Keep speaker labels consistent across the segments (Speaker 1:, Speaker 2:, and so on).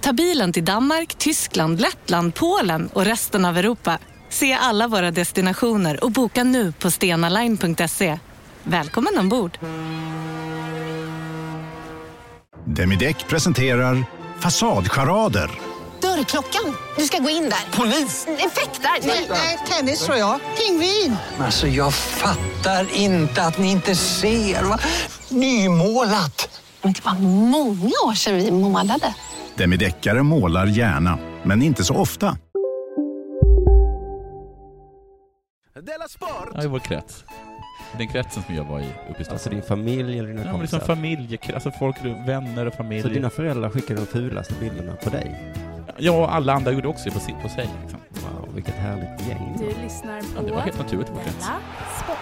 Speaker 1: Ta bilen till Danmark, Tyskland, Lettland, Polen och resten av Europa. Se alla våra destinationer och boka nu på stenaline.se. Välkommen ombord!
Speaker 2: Demideck presenterar Fasadcharader.
Speaker 3: Dörrklockan. Du ska gå in där. Polis? Effektar? Nej, tennis tror jag. Pingvin.
Speaker 4: Alltså jag fattar inte att ni inte ser. Va? Nymålat!
Speaker 3: Men det var många år sedan vi målade.
Speaker 2: Demideckare målar gärna, men inte så ofta.
Speaker 5: Ja, i vår krets. Den kretsen som jag var i uppe i Stockholm.
Speaker 6: Alltså din familj eller dina
Speaker 5: ja, men
Speaker 6: kompisar.
Speaker 5: liksom familje, alltså folk, runt- vänner och familj.
Speaker 6: så dina föräldrar skickade de fulaste bilderna på dig?
Speaker 5: Ja, och alla andra gjorde också det på, si- på sig liksom.
Speaker 6: Wow, vilket härligt gäng.
Speaker 7: Du lyssnar på
Speaker 5: Ja, det var helt naturligt i vår krets.
Speaker 7: Della Sport.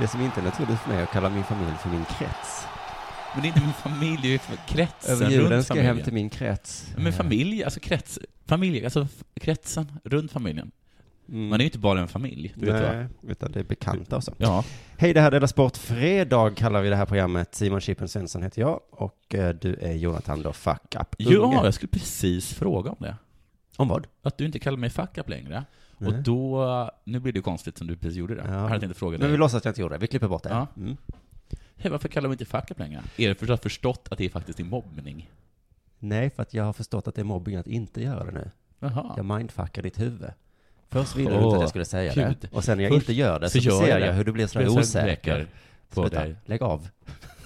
Speaker 6: Det som inte är naturligt för mig är att kalla min familj för min krets.
Speaker 5: Men det är inte min familj, det är ju för- kretsen
Speaker 6: Över julen
Speaker 5: runt
Speaker 6: ska jag hem
Speaker 5: familjen.
Speaker 6: till min krets.
Speaker 5: Men familj, alltså krets, familj, alltså f- kretsen runt familjen.
Speaker 6: Mm.
Speaker 5: Man är ju inte bara en familj, det vet du va?
Speaker 6: Nej, utan det är bekanta och så.
Speaker 5: Ja.
Speaker 6: Hej, det här är Della Sport. Fredag kallar vi det här programmet. Simon Chippen Svensson heter jag och eh, du är Jonathan då Fuck Up
Speaker 5: ja, jag skulle precis fråga om det.
Speaker 6: Om vad?
Speaker 5: Att du inte kallar mig fuck up längre.
Speaker 6: Nej.
Speaker 5: Och då, nu blir det ju konstigt som du precis gjorde det.
Speaker 6: Ja.
Speaker 5: Jag hade inte frågat
Speaker 6: Men vi
Speaker 5: dig.
Speaker 6: låtsas att jag inte gjorde det. Vi klipper bort det.
Speaker 5: Ja.
Speaker 6: Mm.
Speaker 5: Hej, varför kallar vi inte fuck up längre? Är det för att du har förstått att det är faktiskt är mobbning?
Speaker 6: Nej, för att jag har förstått att det är mobbing att inte göra det nu.
Speaker 5: Jaha.
Speaker 6: Jag mindfuckar ditt huvud. Först ville du inte
Speaker 5: Åh,
Speaker 6: att jag skulle säga
Speaker 5: gud.
Speaker 6: det. Och sen när jag
Speaker 5: Först
Speaker 6: inte gör det
Speaker 5: så
Speaker 6: så,
Speaker 5: gör
Speaker 6: ser
Speaker 5: jag det.
Speaker 6: jag hur du blir
Speaker 5: Jag
Speaker 6: sådär
Speaker 5: blir
Speaker 6: osäker.
Speaker 5: sömndräkare på
Speaker 6: Sluta,
Speaker 5: dig.
Speaker 6: lägg av.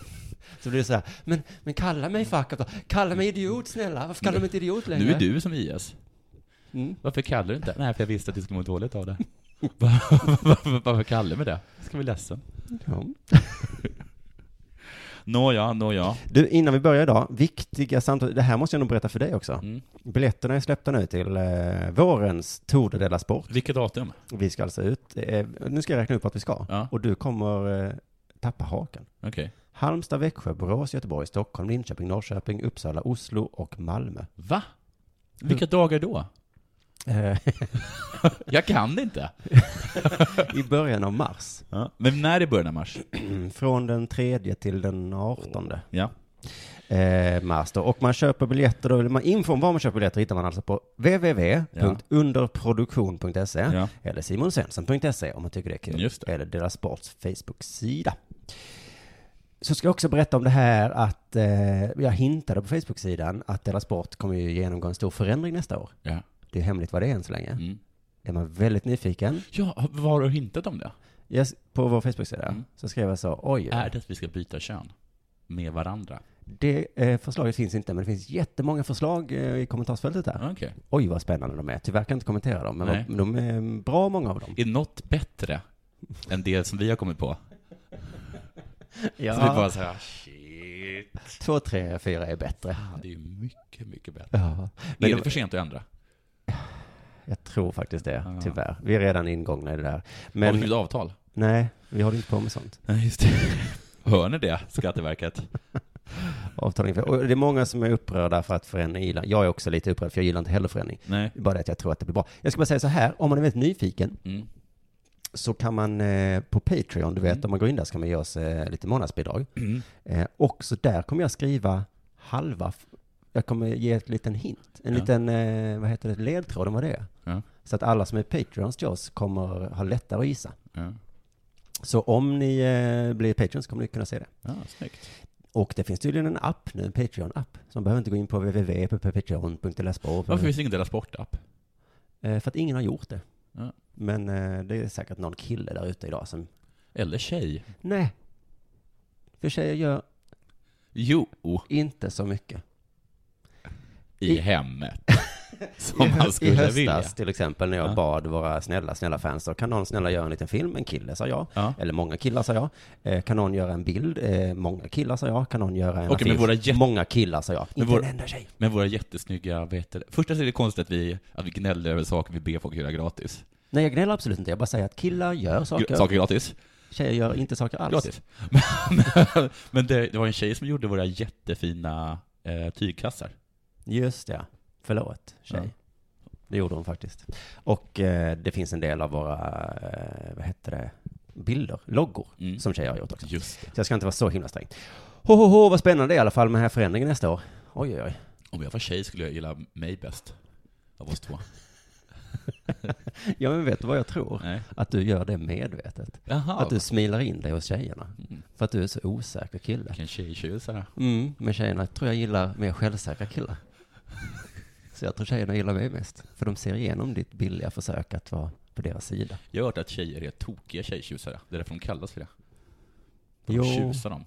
Speaker 6: så blir det såhär, men, men kalla mig fuck up då. Kalla mig idiot snälla. Varför kallar de mig inte idiot längre?
Speaker 5: Nu är du som IS.
Speaker 6: Mm.
Speaker 5: Varför kallar du inte? Nej, för jag visste att du skulle må dåligt av det. varför, varför, varför kallar vi det? Jag ska bli ledsen.
Speaker 6: Ja.
Speaker 5: Nåja, nåja.
Speaker 6: Du, innan vi börjar idag, viktiga samtal. Det här måste jag nog berätta för dig också.
Speaker 5: Mm.
Speaker 6: Biljetterna är släppta nu till eh, vårens Tour de Della Sport.
Speaker 5: Vilket datum?
Speaker 6: Vi ska alltså ut. Eh, nu ska jag räkna upp vart vi ska.
Speaker 5: Ja.
Speaker 6: Och du kommer eh, tappa hakan.
Speaker 5: Okej.
Speaker 6: Halmstad, Växjö, Borås, Göteborg, Stockholm, Linköping, Norrköping, Uppsala, Oslo och Malmö.
Speaker 5: Va? Vilka dagar då?
Speaker 6: Eh,
Speaker 5: Jag kan det inte.
Speaker 6: I början av mars.
Speaker 5: Men när är början av mars?
Speaker 6: Mm, Från den 3 till den 18
Speaker 5: Ja.
Speaker 6: eh, mars då. Och man köper biljetter, då, eller man, infon var man köper biljetter hittar man alltså på www.underproduktion.se
Speaker 5: Ja.
Speaker 6: eller simonsvensson.se om man tycker det är kul.
Speaker 5: Just det.
Speaker 6: Eller Dela Sports Facebook-sida. Så ska jag också berätta om det här att eh, jag hintade på Facebook-sidan att Dela Sport kommer ju genomgå en stor förändring nästa år.
Speaker 5: Ja.
Speaker 6: Det är hemligt vad det är än så länge.
Speaker 5: Mm.
Speaker 6: Är man väldigt nyfiken,
Speaker 5: ja, vad har du hintat om det?
Speaker 6: jag, s- på vår Facebook-sida,
Speaker 5: Mm.
Speaker 6: så skrev jag så, oj,
Speaker 5: Är det att vi ska byta kön? Med varandra?
Speaker 6: det eh, förslaget finns inte, men det finns jättemånga förslag eh, i kommentarsfältet där.
Speaker 5: Okej.
Speaker 6: Oj, vad spännande de är. Tyvärr kan jag inte kommentera dem, men
Speaker 5: Nej.
Speaker 6: vad, de är mm, bra många av dem.
Speaker 5: Är något bättre än det som vi har kommit på? Så vi
Speaker 6: Ja,
Speaker 5: bara såhär, shit.
Speaker 6: två, tre, fyra är bättre.
Speaker 5: Det är ju mycket, mycket bättre.
Speaker 6: Ja,
Speaker 5: Men
Speaker 6: men
Speaker 5: är
Speaker 6: det-
Speaker 5: det för sent att ändra?
Speaker 6: jag tror faktiskt det,
Speaker 5: Ja.
Speaker 6: tyvärr. Vi är redan ingångna i det där.
Speaker 5: Har vi
Speaker 6: Men
Speaker 5: skrivit avtal?
Speaker 6: nej, vi håller inte på med sånt.
Speaker 5: Nej, just det. Hör ni det, Skatteverket?
Speaker 6: Avtal inför. Och det är många som är upprörda för att förändring gillar. Jag är också lite upprörd, för jag gillar inte heller förändring.
Speaker 5: Nej.
Speaker 6: Bara det att jag tror att det blir bra. Jag ska bara säga så här, om man är väldigt nyfiken,
Speaker 5: Mm.
Speaker 6: så kan man eh, på Patreon, du vet, om man går in där så kan man ge oss eh, lite månadsbidrag.
Speaker 5: Mm.
Speaker 6: Eh, och så där kommer jag skriva halva, f- jag kommer ge ett liten hint, en
Speaker 5: Ja.
Speaker 6: liten, eh, vad heter det, ledtråd om vad det är.
Speaker 5: Ja.
Speaker 6: Så att alla som är Patreons till oss kommer ha lättare att gissa.
Speaker 5: Ja.
Speaker 6: Så om ni eh, blir Patreons kommer ni kunna se det.
Speaker 5: ja, snyggt.
Speaker 6: Och det finns tydligen en app nu, en Patreon-app, som behöver inte gå in på www.patreon.lasport.
Speaker 5: Varför finns det ingen Dela Sport-app?
Speaker 6: Eh, för att ingen har gjort det.
Speaker 5: Ja.
Speaker 6: Men eh, det är säkert någon kille där ute idag som,
Speaker 5: Eller tjej?
Speaker 6: nej. För tjejer gör
Speaker 5: Jo,
Speaker 6: inte så mycket.
Speaker 5: i hemmet. Som man
Speaker 6: I
Speaker 5: skulle
Speaker 6: höstas
Speaker 5: vilja.
Speaker 6: till exempel när jag
Speaker 5: Ja.
Speaker 6: bad våra snälla, snälla fans då, kan någon snälla göra en liten film? En kille sa jag.
Speaker 5: Ja.
Speaker 6: Eller många killar sa jag. Eh, kan någon göra en bild? Eh, många killar sa jag. Kan någon göra en
Speaker 5: Okej, men
Speaker 6: affisch?
Speaker 5: våra jätte-
Speaker 6: Många killar sa jag.
Speaker 5: Men
Speaker 6: Inte
Speaker 5: vår-
Speaker 6: en enda tjej.
Speaker 5: Men våra jättesnygga, vad heter det? Först är det konstigt att vi, att vi gnäller över saker vi ber folk göra gratis.
Speaker 6: Nej, jag gnäller absolut inte. Jag bara säger att killar gör saker.
Speaker 5: Gr- Saker gratis.
Speaker 6: Tjejer gör inte saker alls.
Speaker 5: Gratis. Men, men det, det var en tjej som gjorde våra jättefina eh, tygkassar.
Speaker 6: Just det. Förlåt, tjej. Det gjorde hon faktiskt. Och eh, det finns en del av våra, eh, vad heter det, bilder, loggor,
Speaker 5: Mm.
Speaker 6: som tjejer har gjort också.
Speaker 5: Just det.
Speaker 6: Så jag ska inte vara så himla sträng. Ho, ho, ho, vad spännande i alla fall med den här förändringen nästa år. Oj, oj, oj.
Speaker 5: Om jag var tjej skulle jag gilla mig bäst. Av oss två.
Speaker 6: Ja, men vet du vad jag tror?
Speaker 5: Nej.
Speaker 6: Att du gör det medvetet.
Speaker 5: Jaha.
Speaker 6: Att du smilar in dig hos tjejerna. För att du är så osäker kille.
Speaker 5: Mm, Vilken tjejtjusare.
Speaker 6: Mm, men tjejerna tror jag gillar mer självsäkra killar. Så jag tror tjejerna gillar mig mest. För de ser igenom ditt billiga försök att vara på deras sida.
Speaker 5: Jag har hört att tjejer är tokiga tjejtjusare. Det är därför de kallas för det. De
Speaker 6: Jo.
Speaker 5: tjusar dem.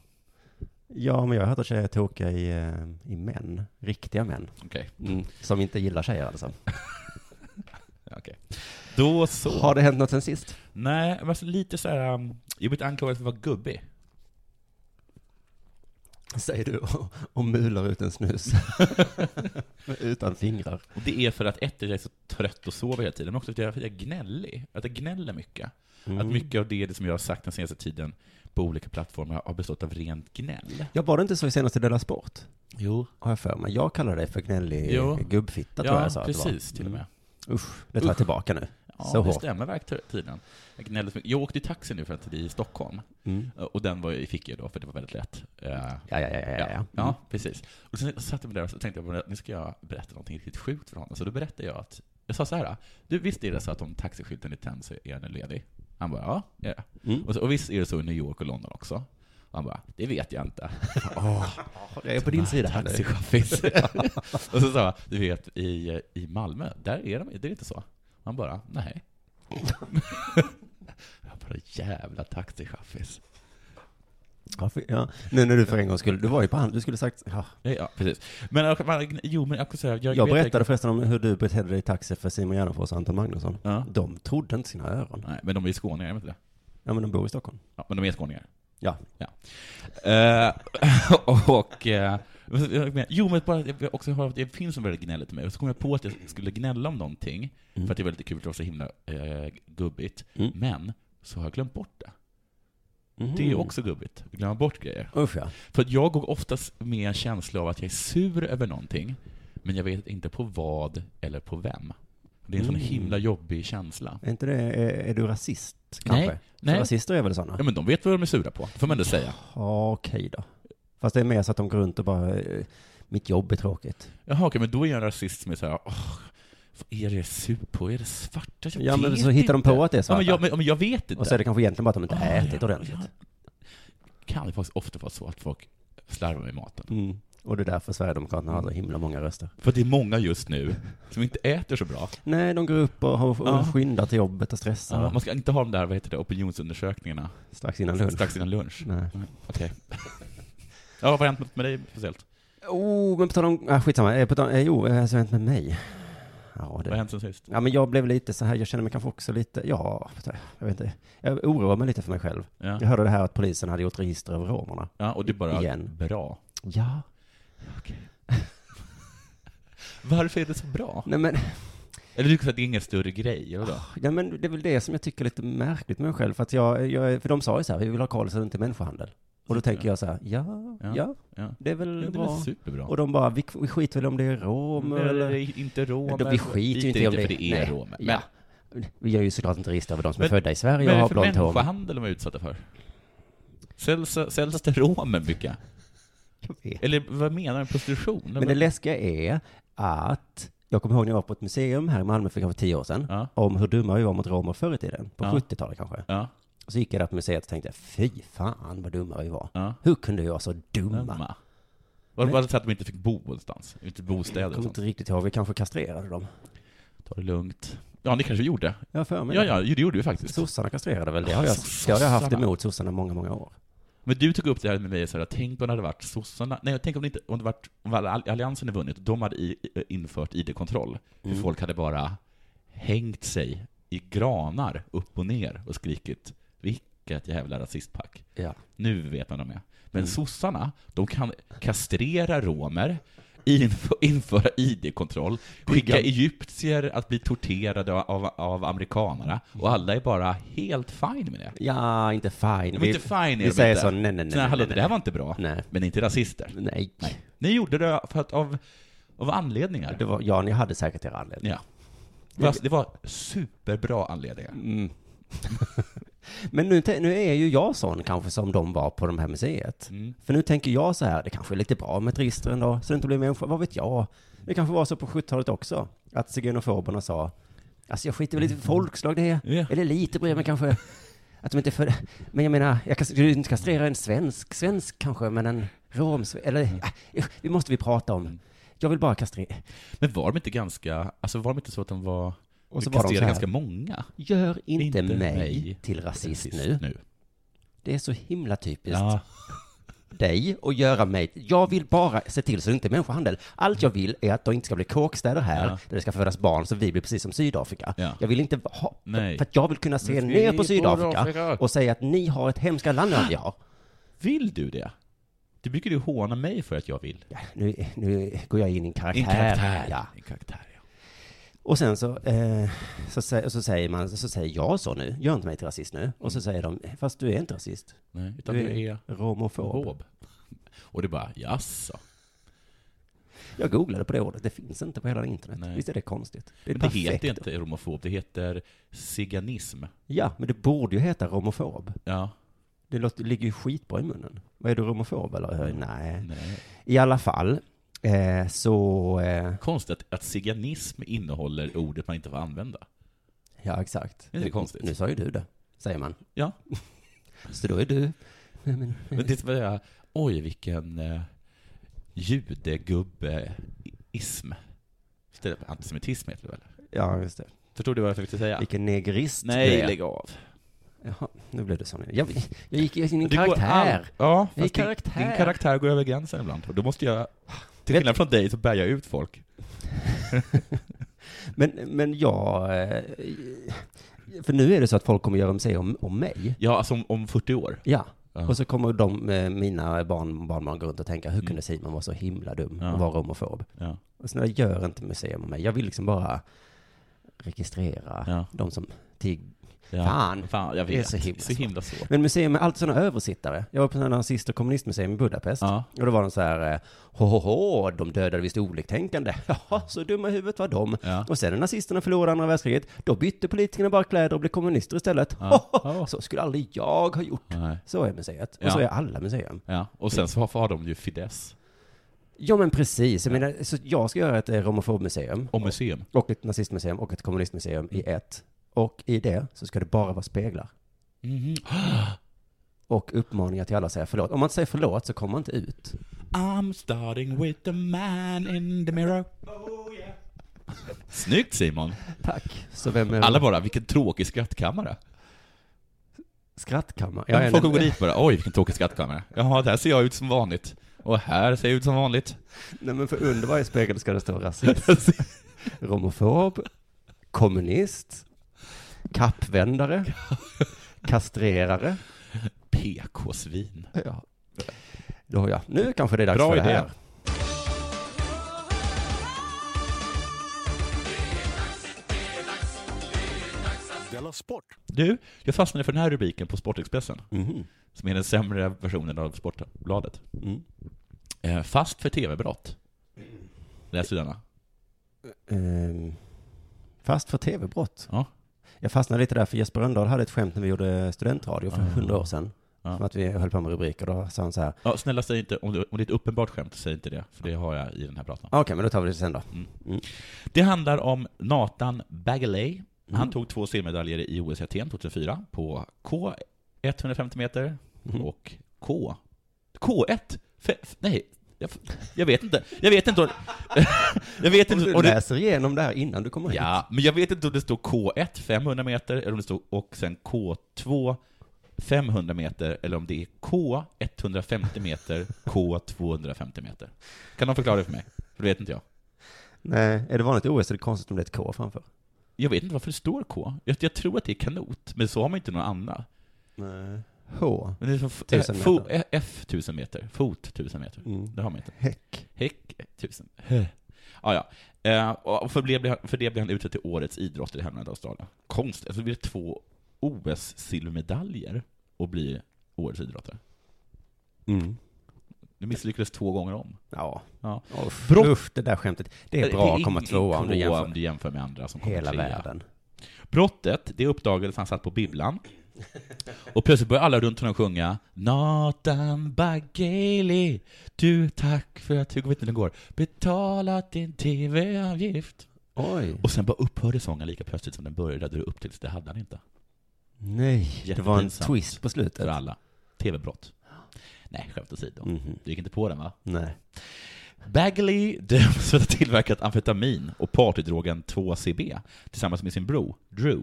Speaker 6: Ja, men jag har hört att tjejer är tokiga i, eh, i män. Riktiga män.
Speaker 5: Okej.
Speaker 6: Mm, som inte gillar tjejer alltså.
Speaker 5: Ja, okej. Då så.
Speaker 6: Har det hänt något sen sist?
Speaker 5: Nej, men alltså lite så här. um, Jag blivit anklagad för att vara gubbig.
Speaker 6: Säger du och, och mular ut en snus. Utan fingrar.
Speaker 5: Och det är för att ett, jag är så trött och sover hela tiden, men också för att jag- för att jag är gnällig. Att jag gnäller mycket.
Speaker 6: Mm.
Speaker 5: Att mycket av det som jag har sagt den senaste tiden på olika plattformar har bestått av rent gnäll.
Speaker 6: Jag var det inte så i senaste Della Sport?
Speaker 5: Jo.
Speaker 6: Har jag för mig. Jag kallar dig för gnällig
Speaker 5: Jo.
Speaker 6: gubbfitta tror
Speaker 5: Ja,
Speaker 6: jag sa att det var. Mm.
Speaker 5: precis, till och med.
Speaker 6: Usch, det tar jag
Speaker 5: Usch.
Speaker 6: tillbaka nu.
Speaker 5: Ja,
Speaker 6: så
Speaker 5: det
Speaker 6: hårt.
Speaker 5: stämmer verkligen. Jag, gnällde så mycket. jag åkte i taxi nu för att det är i Stockholm, Eh,
Speaker 6: Mm.
Speaker 5: och den var, fick jag då för det var väldigt lätt. Eh,
Speaker 6: Ja, ja, ja, ja, Mm. ja.
Speaker 5: Ja, ja, precis. Och sen satt jag mig där och tänkte jag, nu ska jag berätta någonting riktigt sjukt för honom. Så då berättade jag att, jag sa så här, du visst är det så att om taxiskylten är tänd så är den ledig? Han bara, ja, det är det.
Speaker 6: Mm.
Speaker 5: Och, så, och visst är det så i New York och London också? Och han bara, det vet jag inte.
Speaker 6: Mm. Jag är på din sida här nu.
Speaker 5: Taxichaffis. och så sa jag, du vet i, i Malmö, där är de, det är inte så. Han bara, nej. jag bara, jävla taxichaffis.
Speaker 6: Ja, för, ja. Nu när du för en gång skulle, du var ju på hand, du skulle sagt, ja.
Speaker 5: Ja, Ja, precis. Men, jag- man- jo, men jag, kan säga, jag,
Speaker 6: Jag
Speaker 5: vet-
Speaker 6: berättade förresten om hur du betedde dig i taxi för Simon Gärdenfors och Anton Magnusson.
Speaker 5: Ja.
Speaker 6: De trodde inte sina öron.
Speaker 5: Nej, men de är ju skåningar, är de inte det?
Speaker 6: Ja, men de bor i Stockholm.
Speaker 5: Ja, men de är skåningar.
Speaker 6: Ja.
Speaker 5: Eh, och... eh, vad ska jag mena? jo, men bara att jag också hör att det finns som väldigt gnälligt till mig. Och så kom jag på att jag skulle gnälla om någonting, för att det var lite kul, för det var så himla eh, gubbigt.
Speaker 6: Mm.
Speaker 5: Men så har jag glömt bort det.
Speaker 6: Mhm.
Speaker 5: Det är också gubbigt, att glömma bort grejer.
Speaker 6: Usch ja.
Speaker 5: För att jag går oftast med en känsla av att jag är sur över någonting, men jag vet inte på vad eller på vem. Det är en sån
Speaker 6: Mm.
Speaker 5: himla jobbig känsla.
Speaker 6: Är inte det, är, är du rasist kanske?
Speaker 5: Nej.
Speaker 6: För
Speaker 5: Nej.
Speaker 6: Rasister är väl sådana?
Speaker 5: Ja, men de vet vad de är sura på, får man ändå säga.
Speaker 6: Ja, okej då. Fast det är mer så att de går runt och bara, eh, mitt jobb är tråkigt.
Speaker 5: Jaha, okej, men då är jag en rasist som är såhär, åh, vad är det jag är sur på? Är det svarta? Jag
Speaker 6: Ja, men
Speaker 5: vet
Speaker 6: så hittar de
Speaker 5: inte."
Speaker 6: på att det är
Speaker 5: Ja, men
Speaker 6: svarta.
Speaker 5: jag, men, ja, men jag vet inte.
Speaker 6: Och så är det kanske egentligen bara att de inte
Speaker 5: Ah,
Speaker 6: har ätit
Speaker 5: ja,
Speaker 6: ordentligt.
Speaker 5: Kan det faktiskt ofta vara så att folk slarvar med maten?
Speaker 6: Mm. Och det är därför Sverigedemokraterna har så
Speaker 5: Mm.
Speaker 6: himla många röster.
Speaker 5: För det är många just nu som inte äter så bra.
Speaker 6: Nej, de går upp och, har- och
Speaker 5: Ja.
Speaker 6: skyndar till jobbet och stressar
Speaker 5: Man ska inte ha de där, vad heter det, opinionsundersökningarna
Speaker 6: strax innan lunch.
Speaker 5: strax innan lunch.
Speaker 6: Nej.
Speaker 5: Nej, Okej. ja, vad har hänt med dig speciellt?
Speaker 6: Oh, men på tal om, ah, skitsamma, eh, på tal, eh, jo, eh, så har hänt med mig. Ja,
Speaker 5: Vad har
Speaker 6: det,
Speaker 5: hänt sen sist?
Speaker 6: ja, men jag blev lite så här, jag känner mig kanske också lite, ja, jag vet inte, jag oroar mig lite för mig själv.
Speaker 5: Ja.
Speaker 6: Jag hörde det här att polisen hade gjort register över romerna.
Speaker 5: ja, och du bara,
Speaker 6: Igen.
Speaker 5: bra.
Speaker 6: Ja.
Speaker 5: Varför är det så bra?
Speaker 6: Nej men,
Speaker 5: Eller du kan säga att det är ingen större grej, eller då?
Speaker 6: nej men det är väl det som jag tycker är lite märkligt med mig själv, för att jag, jag för de sa ju så här, vi vill ha Karlsson inte människohandel. Och då tänker jag så här, ja,
Speaker 5: Ja.
Speaker 6: ja,
Speaker 5: Ja.
Speaker 6: det är väl
Speaker 5: Ja, det är
Speaker 6: bra.
Speaker 5: väl Mm, superbra.
Speaker 6: Och de bara, vi, vi skiter väl om det är romer
Speaker 5: Eller,
Speaker 6: eller...
Speaker 5: inte romer.
Speaker 6: Vi skiter ju inte i om det,
Speaker 5: för det är
Speaker 6: nej.
Speaker 5: romer. Men,
Speaker 6: Ja. Vi gör ju såklart inte register över de som
Speaker 5: Men-
Speaker 6: är födda i
Speaker 5: men
Speaker 6: Sverige
Speaker 5: vad
Speaker 6: och
Speaker 5: är det
Speaker 6: har
Speaker 5: för
Speaker 6: blont hår.
Speaker 5: människohandel de är utsatta för? Säljs, säljs det romer mycket?
Speaker 6: Jag vet
Speaker 5: Eller vad menar du? Prostitution?
Speaker 6: Men det läskiga är att, jag kommer ihåg när jag var på ett museum här i Malmö för kanske tio år sedan,
Speaker 5: Ja.
Speaker 6: om hur dumma vi var mot romer förr i tiden, på
Speaker 5: Ja.
Speaker 6: 70-talet kanske.
Speaker 5: Ja,
Speaker 6: Och så gick jag där på museet och tänkte, fy fan vad dumma vi var.
Speaker 5: Ja.
Speaker 6: Hur kunde vi vara så dumma?
Speaker 5: dumma. Var det bara så att de inte fick bo någonstans? Inte
Speaker 6: Jag
Speaker 5: bostäder och
Speaker 6: kommer
Speaker 5: sånt?
Speaker 6: inte riktigt ihåg, vi kanske kastrerade dem.
Speaker 5: Ta det lugnt. Ja, ni kanske gjorde.
Speaker 6: Jag har för mig
Speaker 5: Ja,
Speaker 6: det.
Speaker 5: ja, det gjorde du faktiskt.
Speaker 6: Sossarna kastrerade väl, det har jag, det har jag haft
Speaker 5: Sossarna.
Speaker 6: emot sossarna många, många år.
Speaker 5: Men du tog upp det här med mig och sa tänk om det hade varit sossarna, nej tänk om det inte, om det varit, om all- alliansen hade vunnit och de hade i, i- infört ID-kontroll. Hur folk hade bara hängt sig i granar upp och ner och skrikit vilket jävla rasistpack.
Speaker 6: Ja.
Speaker 5: Nu vet man vad de är. Men sossarna, de kan kastrera romer, inf- införa ID-kontroll, skicka egyptier att bli torterade av, av amerikanerna, och alla är bara helt fine med det.
Speaker 6: Ja, inte fine.
Speaker 5: De är inte fine är
Speaker 6: vi
Speaker 5: de
Speaker 6: säger
Speaker 5: inte.
Speaker 6: så, nej, nej, nej.
Speaker 5: Så här, hallå,
Speaker 6: nej,
Speaker 5: det här var inte bra.
Speaker 6: Nej.
Speaker 5: Men inte rasister.
Speaker 6: nej. nej.
Speaker 5: Ni gjorde det för att av, av anledningar.
Speaker 6: Det var, ja, ni hade säkert er anledning.
Speaker 5: Ja. Fast det var superbra anledningar.
Speaker 6: Mm. Men nu, te- nu är ju jag sån kanske som de var på de här museet.
Speaker 5: Mm.
Speaker 6: För nu tänker jag så här, det kanske är lite bra med ett register ändå, så det inte blir människa, vad vet jag? Det kanske var så på 70-talet också, att zigeunofoberna sa, alltså jag skiter väl lite folkslag det är,
Speaker 5: Mm. Ja.
Speaker 6: eller lite bryr jag mig kanske. Att de inte för, men jag menar, jag kan du inte kastrera en svensk, svensk kanske, men en rom, eller,
Speaker 5: Mm.
Speaker 6: äh, det måste vi prata om. Jag vill bara kastrera,
Speaker 5: Men var de inte ganska, alltså var de inte så att de var,
Speaker 6: Och så
Speaker 5: de
Speaker 6: var de så
Speaker 5: kastrerade
Speaker 6: här.
Speaker 5: ganska många?
Speaker 6: gör inte,
Speaker 5: Inte
Speaker 6: mig,
Speaker 5: mig
Speaker 6: till rasist nu.
Speaker 5: nu.
Speaker 6: Det är så himla typiskt.
Speaker 5: Ja.
Speaker 6: dig och göra mig. Jag vill bara se till så det inte är människohandel. Allt jag vill är att de inte ska bli kåkstäder här,
Speaker 5: Ja.
Speaker 6: där det ska födas barn så vi blir precis som Sydafrika.
Speaker 5: Ja.
Speaker 6: Jag vill inte ha,
Speaker 5: Nej.
Speaker 6: för att jag vill kunna se
Speaker 5: Men vi
Speaker 6: ner
Speaker 5: bor
Speaker 6: på
Speaker 5: i Afrika.
Speaker 6: Sydafrika och säga att ni har ett hemska land än vad vi har.
Speaker 5: Vill du det? Du brukar ju håna mig för att jag vill.
Speaker 6: Ja, nu, nu går jag in i en karaktär.
Speaker 5: Din karaktär.
Speaker 6: Ja.
Speaker 5: Din karaktär, ja.
Speaker 6: Och sen så, eh, så, sä- så säger man, så säger jag så nu, gör inte mig till rasist nu. Och så
Speaker 5: Mm.
Speaker 6: säger de, fast du är inte rasist.
Speaker 5: Nej, utan
Speaker 6: Du
Speaker 5: du
Speaker 6: är
Speaker 5: är
Speaker 6: romofob.
Speaker 5: homofob. Och det är bara, jaså?
Speaker 6: Jag googlade på det ordet, det finns inte på hela internet.
Speaker 5: Nej.
Speaker 6: Visst är det konstigt? Det är
Speaker 5: Men det
Speaker 6: perfekt.
Speaker 5: heter inte romofob, det heter ziganism.
Speaker 6: Ja, men det borde ju heta romofob.
Speaker 5: Ja,
Speaker 6: Det låter, ligger ju skitbra i munnen. Vad är du romofob eller? Eh, Nej.
Speaker 5: nej.
Speaker 6: I alla fall, eh, så... Eh,
Speaker 5: Konstigt att, att ziganism innehåller ordet man inte får använda.
Speaker 6: ja, exakt.
Speaker 5: Det är konstigt.
Speaker 6: Nu sa ju du det, säger man.
Speaker 5: Ja,
Speaker 6: Så då är du...
Speaker 5: men det var jag, oj vilken eh, judegubbeism. Istället för antisemitism heter det väl?
Speaker 6: Ja, just det.
Speaker 5: Förstod du vad jag försökte säga?
Speaker 6: Vilken negrist du
Speaker 5: Nej,
Speaker 6: är.
Speaker 5: lägg av.
Speaker 6: Jaha, nu blev det så nu. Jag, jag gick in i en
Speaker 5: Du går
Speaker 6: karaktär.
Speaker 5: all- Ja,
Speaker 6: I
Speaker 5: fast din,
Speaker 6: karaktär.
Speaker 5: din karaktär går över gränsen ibland. Och då måste jag, till skillnad från dig, så bär jag ut folk.
Speaker 6: Men, men jag... Eh, för nu är det så att folk kommer göra museer om, om mig.
Speaker 5: Ja, alltså om, om 40 år.
Speaker 6: Ja.
Speaker 5: Ja.
Speaker 6: Och så kommer de, eh, mina barn, barnbarn gå runt och tänka, hur kunde Simon vara så himla dum
Speaker 5: Mm. Ja.
Speaker 6: och vara romofob?
Speaker 5: Ja.
Speaker 6: Och snälla, gör inte museum om mig. Jag vill liksom bara registrera
Speaker 5: Ja.
Speaker 6: de som tig...
Speaker 5: Ja.
Speaker 6: Fan.
Speaker 5: Fan, jag
Speaker 6: Det är
Speaker 5: vet.
Speaker 6: så himla
Speaker 5: så himla svårt.
Speaker 6: Men museum är alltid sådana översittare. Jag var på sådana nazist och kommunistmuseum i Budapest.
Speaker 5: Ja.
Speaker 6: Och då var de så här, eh, ho, ho, ho, de dödade visst oliktänkande. Jaha, så dumma i huvudet var de.
Speaker 5: Ja.
Speaker 6: Och sen när nazisterna förlorade andra världskriget, då bytte politikerna bara kläder och blev kommunister istället.
Speaker 5: Ja.
Speaker 6: Ho, ho, så skulle aldrig jag ha gjort.
Speaker 5: Nej.
Speaker 6: Så är museet. Och
Speaker 5: Ja.
Speaker 6: så är alla museum.
Speaker 5: Ja, och sen så har, har de ju Fidesz
Speaker 6: Ja men precis, jag menar, så jag ska göra ett eh, romofobmuseum.
Speaker 5: och museum.
Speaker 6: och ett nazistmuseum och ett kommunistmuseum i ett. Och i det så ska det bara vara speglar.
Speaker 5: Mhm.
Speaker 6: Och uppmaningar till alla att säga förlåt. Om man inte säger förlåt så kommer man inte ut.
Speaker 5: I'm starting with the man in the mirror. Snyggt Simon!
Speaker 6: Tack. Så vem är
Speaker 5: Alla bara, vilken tråkig skrattkammare.
Speaker 6: Skrattkammare.
Speaker 5: Ja,
Speaker 6: är
Speaker 5: Folk
Speaker 6: en-
Speaker 5: går dit bara, oj vilken tråkig skrattkammare. Jaha, där ser jag ut som vanligt. Och här ser jag ut som vanligt.
Speaker 6: Nej men för under varje spegel ska det stå rasist, romofob, kommunist, kappvändare, kastrerare.
Speaker 5: PK-svin.
Speaker 6: Ja. Då ja. Nu kanske det är dags
Speaker 5: Bra
Speaker 6: för det
Speaker 5: idé.
Speaker 6: här.
Speaker 5: Du, jag fastnade för den här rubriken på Sportexpressen,
Speaker 6: Mhm.
Speaker 5: som är den sämre versionen av Sportbladet.
Speaker 6: Mm.
Speaker 5: Eh, Fast för TV-brott. Läser du denna?
Speaker 6: Ehm, fast för tv-brott.
Speaker 5: Ja.
Speaker 6: Jag fastnade lite där, för Jesper Rönndahl hade ett skämt när vi gjorde studentradio för hundra år sedan.
Speaker 5: Ja.
Speaker 6: Som att vi höll på med rubriker, då sa han så här,
Speaker 5: Ja, snälla säg inte, om, du, om det är ett uppenbart skämt, säg inte det, för det har jag i den här pratan.
Speaker 6: "Ah, okej, men då tar vi det sen då.
Speaker 5: Det handlar om Nathan Bagley. Han tog två silvermedaljer i OS i Aten 2004 på K150 meter och K... K1? Fe, f- nej, jag, jag vet inte. Jag vet inte om... jag vet
Speaker 6: Och
Speaker 5: inte
Speaker 6: du
Speaker 5: om det,
Speaker 6: läser igenom det här innan du kommer hit.
Speaker 5: Ja, men jag vet inte om det står K1 500 meter eller om det står och sen K2 500 meter eller om det är K 150 meter, K 250 meter. Kan någon förklara det för mig? För det vet inte jag.
Speaker 6: Nej, är det vanligt i OS är det konstigt om det är ett K framför.
Speaker 5: Jag vet inte varför det står K. Jag, jag tror att det är kanot, men så har man inte någon annan.
Speaker 6: Nej. H.
Speaker 5: Men det är som f-
Speaker 6: Tusen
Speaker 5: eh, fo-
Speaker 6: meter.
Speaker 5: eh, F 1000 meter, fot 1000 meter.
Speaker 6: Mm.
Speaker 5: Det har man inte.
Speaker 6: Häck.
Speaker 5: Häck 1000. Ah, ja. Eh, och för det, blev, för det blev han utsedd till årets idrottare i hemlandet Australien. Konst, alltså det blir två OS-silvermedaljer och blir årets idrottare.
Speaker 6: Mm.
Speaker 5: Du misslyckades två gånger om.
Speaker 6: Ja.
Speaker 5: Ja.
Speaker 6: Uff,
Speaker 5: Brott.
Speaker 6: uff, det där skämtet. Det är bra att komma tvåa om du jämför
Speaker 5: med andra som kommer
Speaker 6: hela
Speaker 5: trea.
Speaker 6: världen.
Speaker 5: Brottet, det uppdagades när han satt på bibblan. Och plötsligt började alla runt honom sjunga Nathan Bagheli, du tack för att du, jag vet inte hur den går, betalat din TV-avgift.
Speaker 6: Oj.
Speaker 5: Och sen bara upphörde sången lika plötsligt som den började, du upp till det hade han inte.
Speaker 6: Nej. Det var en
Speaker 5: Jättepinsamt.
Speaker 6: twist på
Speaker 5: För
Speaker 6: slutet.
Speaker 5: alla. TV-brott. Nej, skämt åsido.
Speaker 6: Mhm.
Speaker 5: Du gick inte på den va?
Speaker 6: Nej.
Speaker 5: Bagley döms för att ha tillverkat amfetamin och partydrogen 2CB tillsammans med sin bror Drew.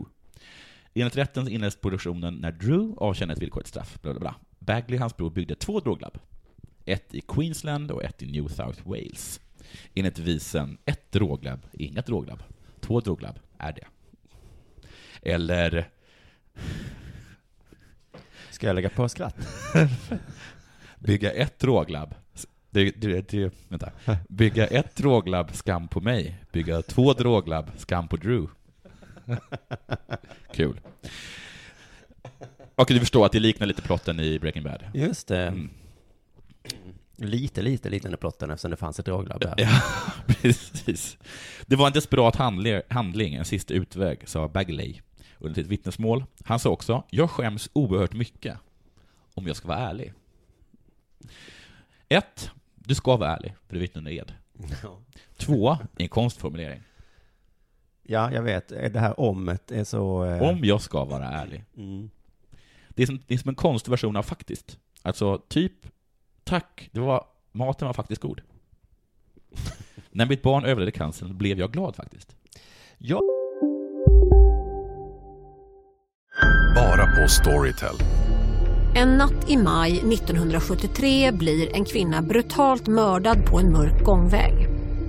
Speaker 5: Enligt rätten inleddes produktionen när Drew avtjänade ett villkorligt straff. Bla bla bla. Bagley och hans bror byggde två droglabb. Ett i Queensland och ett i New South Wales. Enligt visen ett droglabb är inget droglabb. Två droglabb är det. Eller
Speaker 6: Ska jag lägga på skratt?
Speaker 5: Bygga ett droglabb. Det, det, det, vänta. Bygga ett droglabb, skam på mig. Bygga två droglabb, skam på Drew. Kul. Okej, du förstår att det liknar lite plotten i Breaking Bad.
Speaker 6: Just det.
Speaker 5: Mm.
Speaker 6: Lite, lite liknande plotten eftersom det fanns ett droglabb där.
Speaker 5: Ja, precis. Det var en desperat handle- handling, en sista utväg, sa Bagley under sitt vittnesmål. Han sa också, jag skäms oerhört mycket, om jag ska vara ärlig. Ett, Du ska vara ärlig, för du vittnar under ed.
Speaker 6: Ja.
Speaker 5: Två, En konstformulering.
Speaker 6: Ja, jag vet.
Speaker 5: Eh,
Speaker 6: Det här omet är så... eh,
Speaker 5: Om jag ska vara ärlig.
Speaker 6: Mm.
Speaker 5: Det är som, det är som en konstversion av faktiskt. Alltså, typ, tack, det var, maten var faktiskt god. När mitt barn överlevde cancern blev jag glad faktiskt.
Speaker 6: Ja.
Speaker 7: Bara på Storytel.
Speaker 8: En natt i maj 1973 blir en kvinna brutalt mördad på en mörk gångväg.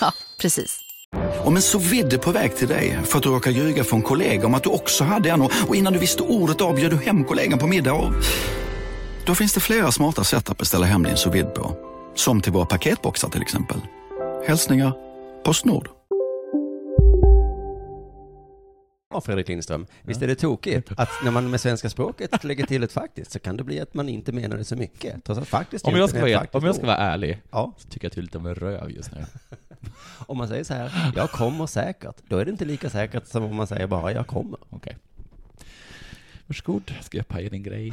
Speaker 9: Ja, precis.
Speaker 10: Om en så vidde på väg till dig för att du råkar ljuga från kollega om att du också hade en och och innan du visste ordet av bjöd du hem kollegan på middag och... Då finns det flera smarta sätt att beställa hem din sous vide på. Som till våra paketboxar till exempel. Hälsningar Postnord.
Speaker 6: Ja, Fredrik Lindström. Visst är det tokigt att när man med svenska språket lägger till ett faktiskt så kan det bli att man inte menar det så mycket. Trots att faktiskt
Speaker 5: Om
Speaker 6: inte
Speaker 5: jag ska
Speaker 6: är
Speaker 5: vara,
Speaker 6: ett
Speaker 5: helt-
Speaker 6: faktiskt
Speaker 5: om jag ska
Speaker 6: ord.
Speaker 5: vara ärlig,
Speaker 6: Ja,
Speaker 5: så tycker jag att du är lite av en röv just nu.
Speaker 6: om man säger så här, jag kommer säkert, då är det inte lika säkert som om man säger bara jag kommer.
Speaker 5: Okej. Varsågod, ska jag paja din grej?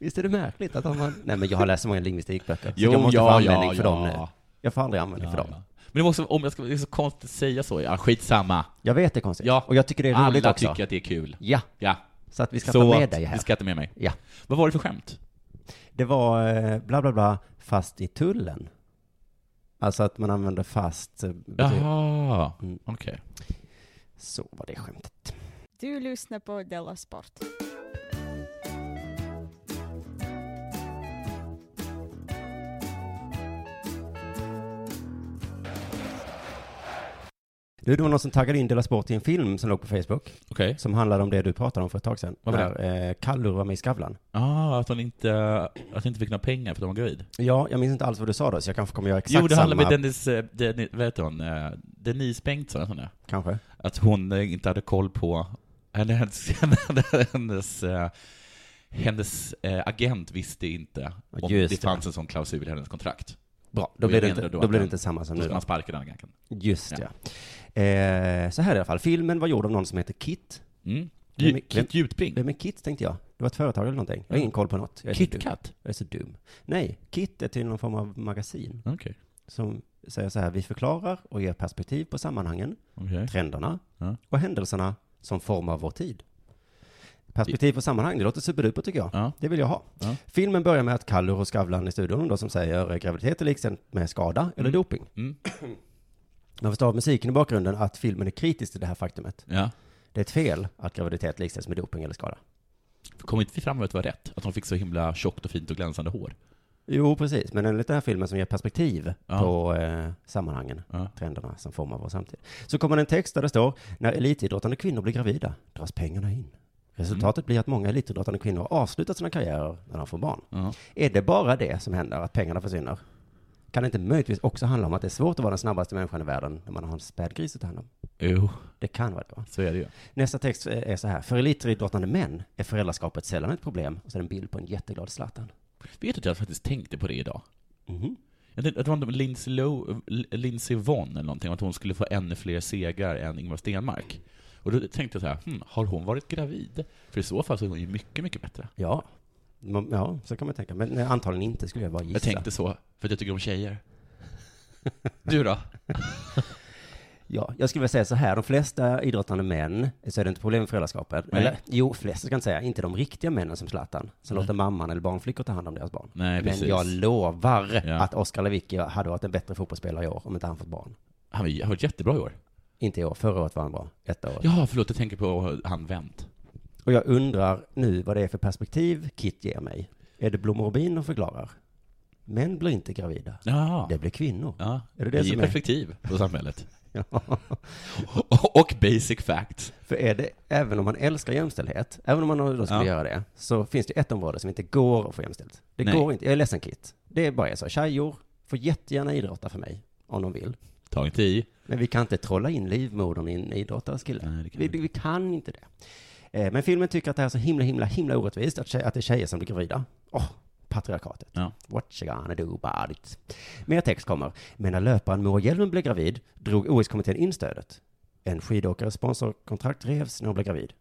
Speaker 6: Visst är det märkligt att om man, nej men jag har läst så många lingvistikböcker, så
Speaker 5: Jo,
Speaker 6: jag måste
Speaker 5: ja,
Speaker 6: få användning
Speaker 5: ja,
Speaker 6: för dem
Speaker 5: ja.
Speaker 6: nu. Jag får aldrig användning för dem.
Speaker 5: Men det var också, om jag ska, det är så konstigt att säga så, ja skitsamma.
Speaker 6: Jag vet det är konstigt.
Speaker 5: Ja,
Speaker 6: Och jag tycker det är
Speaker 5: alla
Speaker 6: roligt också.
Speaker 5: tycker att det är kul.
Speaker 6: Ja,
Speaker 5: Ja.
Speaker 6: så att vi ska
Speaker 5: så
Speaker 6: ta med
Speaker 5: att-
Speaker 6: dig här.
Speaker 5: Du ska ta med mig.
Speaker 6: Ja.
Speaker 5: Vad var det för skämt?
Speaker 6: Det var eh, bla bla bla, fast i tullen. Alltså att man använder fast. eh, bety-
Speaker 5: Jaha,
Speaker 6: Mm.
Speaker 5: okej.
Speaker 6: Så var det skämtet.
Speaker 11: Du lyssnar på Della Sport.
Speaker 6: Du, det var någon som taggade in Dela Sport i en film som låg på Facebook.
Speaker 5: Okej.
Speaker 6: Som handlade om det du pratade om för ett tag sedan.
Speaker 5: Vad var det?
Speaker 6: När eh, Kallur var med i Skavlan.
Speaker 5: Ah, att hon inte, att hon inte fick några pengar för att hon var gravid.
Speaker 6: Ja, jag minns inte alls vad du sa då, så jag kanske kommer göra exakt
Speaker 5: jo, det
Speaker 6: samma.
Speaker 5: handlar om Dennis, eh, Dennis, vad heter hon, eh, Denise Bengtsson, heter hon det?
Speaker 6: Kanske.
Speaker 5: Att hon eh, inte hade koll på, eller hennes, hennes, eh, hennes eh, agent visste inte
Speaker 6: Ja,
Speaker 5: om
Speaker 6: just
Speaker 5: det
Speaker 6: det.
Speaker 5: fanns en sån klausul i hennes kontrakt.
Speaker 6: Bra, då
Speaker 5: jag
Speaker 6: blir det
Speaker 5: menar
Speaker 6: inte,
Speaker 5: då
Speaker 6: då
Speaker 5: att
Speaker 6: blir
Speaker 5: den-
Speaker 6: det inte samma som
Speaker 5: Så
Speaker 6: nu
Speaker 5: att
Speaker 6: då.
Speaker 5: man sparkade den agenten.
Speaker 6: Just ja. Eh, så här i alla fall, filmen var gjord av någon som heter Kit.
Speaker 5: Mm. Ju- Kit Jutbring?
Speaker 6: Vem är Kit, tänkte jag. Det var ett företag eller någonting. Jag har ingen koll på något. Jag är så
Speaker 5: Kit
Speaker 6: dum.
Speaker 5: Kat?
Speaker 6: Jag är så dum. Nej, Kit är till någon form av magasin.
Speaker 5: Okej.
Speaker 6: Som säger så här, vi förklarar och ger perspektiv på sammanhangen,
Speaker 5: Okej.
Speaker 6: trenderna
Speaker 5: Ja.
Speaker 6: och händelserna som formar vår tid. Perspektiv på sammanhang, det låter superdupert tycker jag. Det vill jag ha.
Speaker 5: Ja.
Speaker 6: Filmen börjar med att Kallur och Skavlan i studion då som säger eh, graviditet är likställt med skada eller
Speaker 5: Mm.
Speaker 6: doping. Man förstår av musiken i bakgrunden att filmen är kritisk till det här faktumet.
Speaker 5: Ja.
Speaker 6: Det är ett fel att graviditet likställs med doping eller skada.
Speaker 5: Kom inte vi fram med att det var rätt? Att de fick så himla tjockt och fint och glänsande hår?
Speaker 6: Jo, precis. Men enligt den här filmen som ger perspektiv på eh, sammanhangen, trenderna som formar vår samtid. Så kommer det en text där det står, när elitidrottande kvinnor blir gravida dras pengarna in. Resultatet blir att många elitidrottande kvinnor har avslutat sina karriärer när de får barn. Är det bara det som händer, att pengarna försvinner? Kan det inte möjligtvis också handla om att det är svårt att vara den snabbaste människan i världen när man har en spädgris att ta hand om?
Speaker 5: Jo.
Speaker 6: Det kan vara det va?
Speaker 5: Så är det ju.
Speaker 6: Nästa text eh, är så här. För elitidrottande män är föräldraskapet sällan ett problem. Och så är det en bild på en jätteglad Zlatan.
Speaker 5: Vet du att jag faktiskt tänkte på det idag?
Speaker 6: Mhm.
Speaker 5: Jag tänkte- jag tror att det var Lindsay, Low, Lindsay Vonn eller någonting, att hon skulle få ännu fler segrar än Ingvar Stenmark. Och då tänkte jag så här, hmm, har hon varit gravid? För i så fall så är hon ju mycket, mycket bättre.
Speaker 6: Ja. Man- Ja, så kan man tänka. Men nej, antagligen inte skulle jag bara gissa.
Speaker 5: Jag tänkte så, för att jag tycker om tjejer. Du då?
Speaker 6: Ja, jag skulle vilja säga så här. De flesta idrottande män så är det inte problem med föräldraskapet.
Speaker 5: Nej.
Speaker 6: Eller, jo, flesta ska jag inte säga. Inte de riktiga männen som Zlatan. Som
Speaker 5: Nej.
Speaker 6: låter mamman eller barnflickor ta hand om deras barn.
Speaker 5: Nej,
Speaker 6: Men
Speaker 5: precis.
Speaker 6: jag lovar
Speaker 5: Ja.
Speaker 6: att Oskar Lewicki hade varit en bättre fotbollsspelare i år om inte han fått barn.
Speaker 5: Han har varit jättebra i år.
Speaker 6: Inte i år. Förra året var han bra. Detta året.
Speaker 5: Ja, förlåt, jag tänker på han Wendt.
Speaker 6: Och jag undrar nu vad det är för perspektiv Kit ger mig. Är det blommor och bin de förklarar? Män blir inte gravida.
Speaker 5: Ja.
Speaker 6: Det blir kvinnor.
Speaker 5: Ja.
Speaker 6: Är det
Speaker 5: Det ger
Speaker 6: det som är?
Speaker 5: perspektiv på samhället.
Speaker 6: ja.
Speaker 5: Och basic facts.
Speaker 6: För är det, även om man älskar jämställdhet, även om man då skulle
Speaker 5: Ja.
Speaker 6: göra det, så finns det ett område som inte går att få jämställt. Det
Speaker 5: Nej.
Speaker 6: går inte. Jag är ledsen Kit. Det är bara jag sa. Tjejor får jättegärna idrotta för mig, om de vill.
Speaker 5: Ta inte i.
Speaker 6: Men vi kan inte trolla in livmodern i en idrottares kille. vi, vi kan inte det. Eh, Men filmen tycker att det här är så himla, himla, himla orättvist att, tje- att det är tjejer som blir gravida. Åh, patriarkatet. What you gonna do about it? Mer text kommer. Men när löparen Moa Hjelmen blev gravid drog OS-kommittén in stödet. En skidåkares sponsorkontrakt revs när hon blev gravid.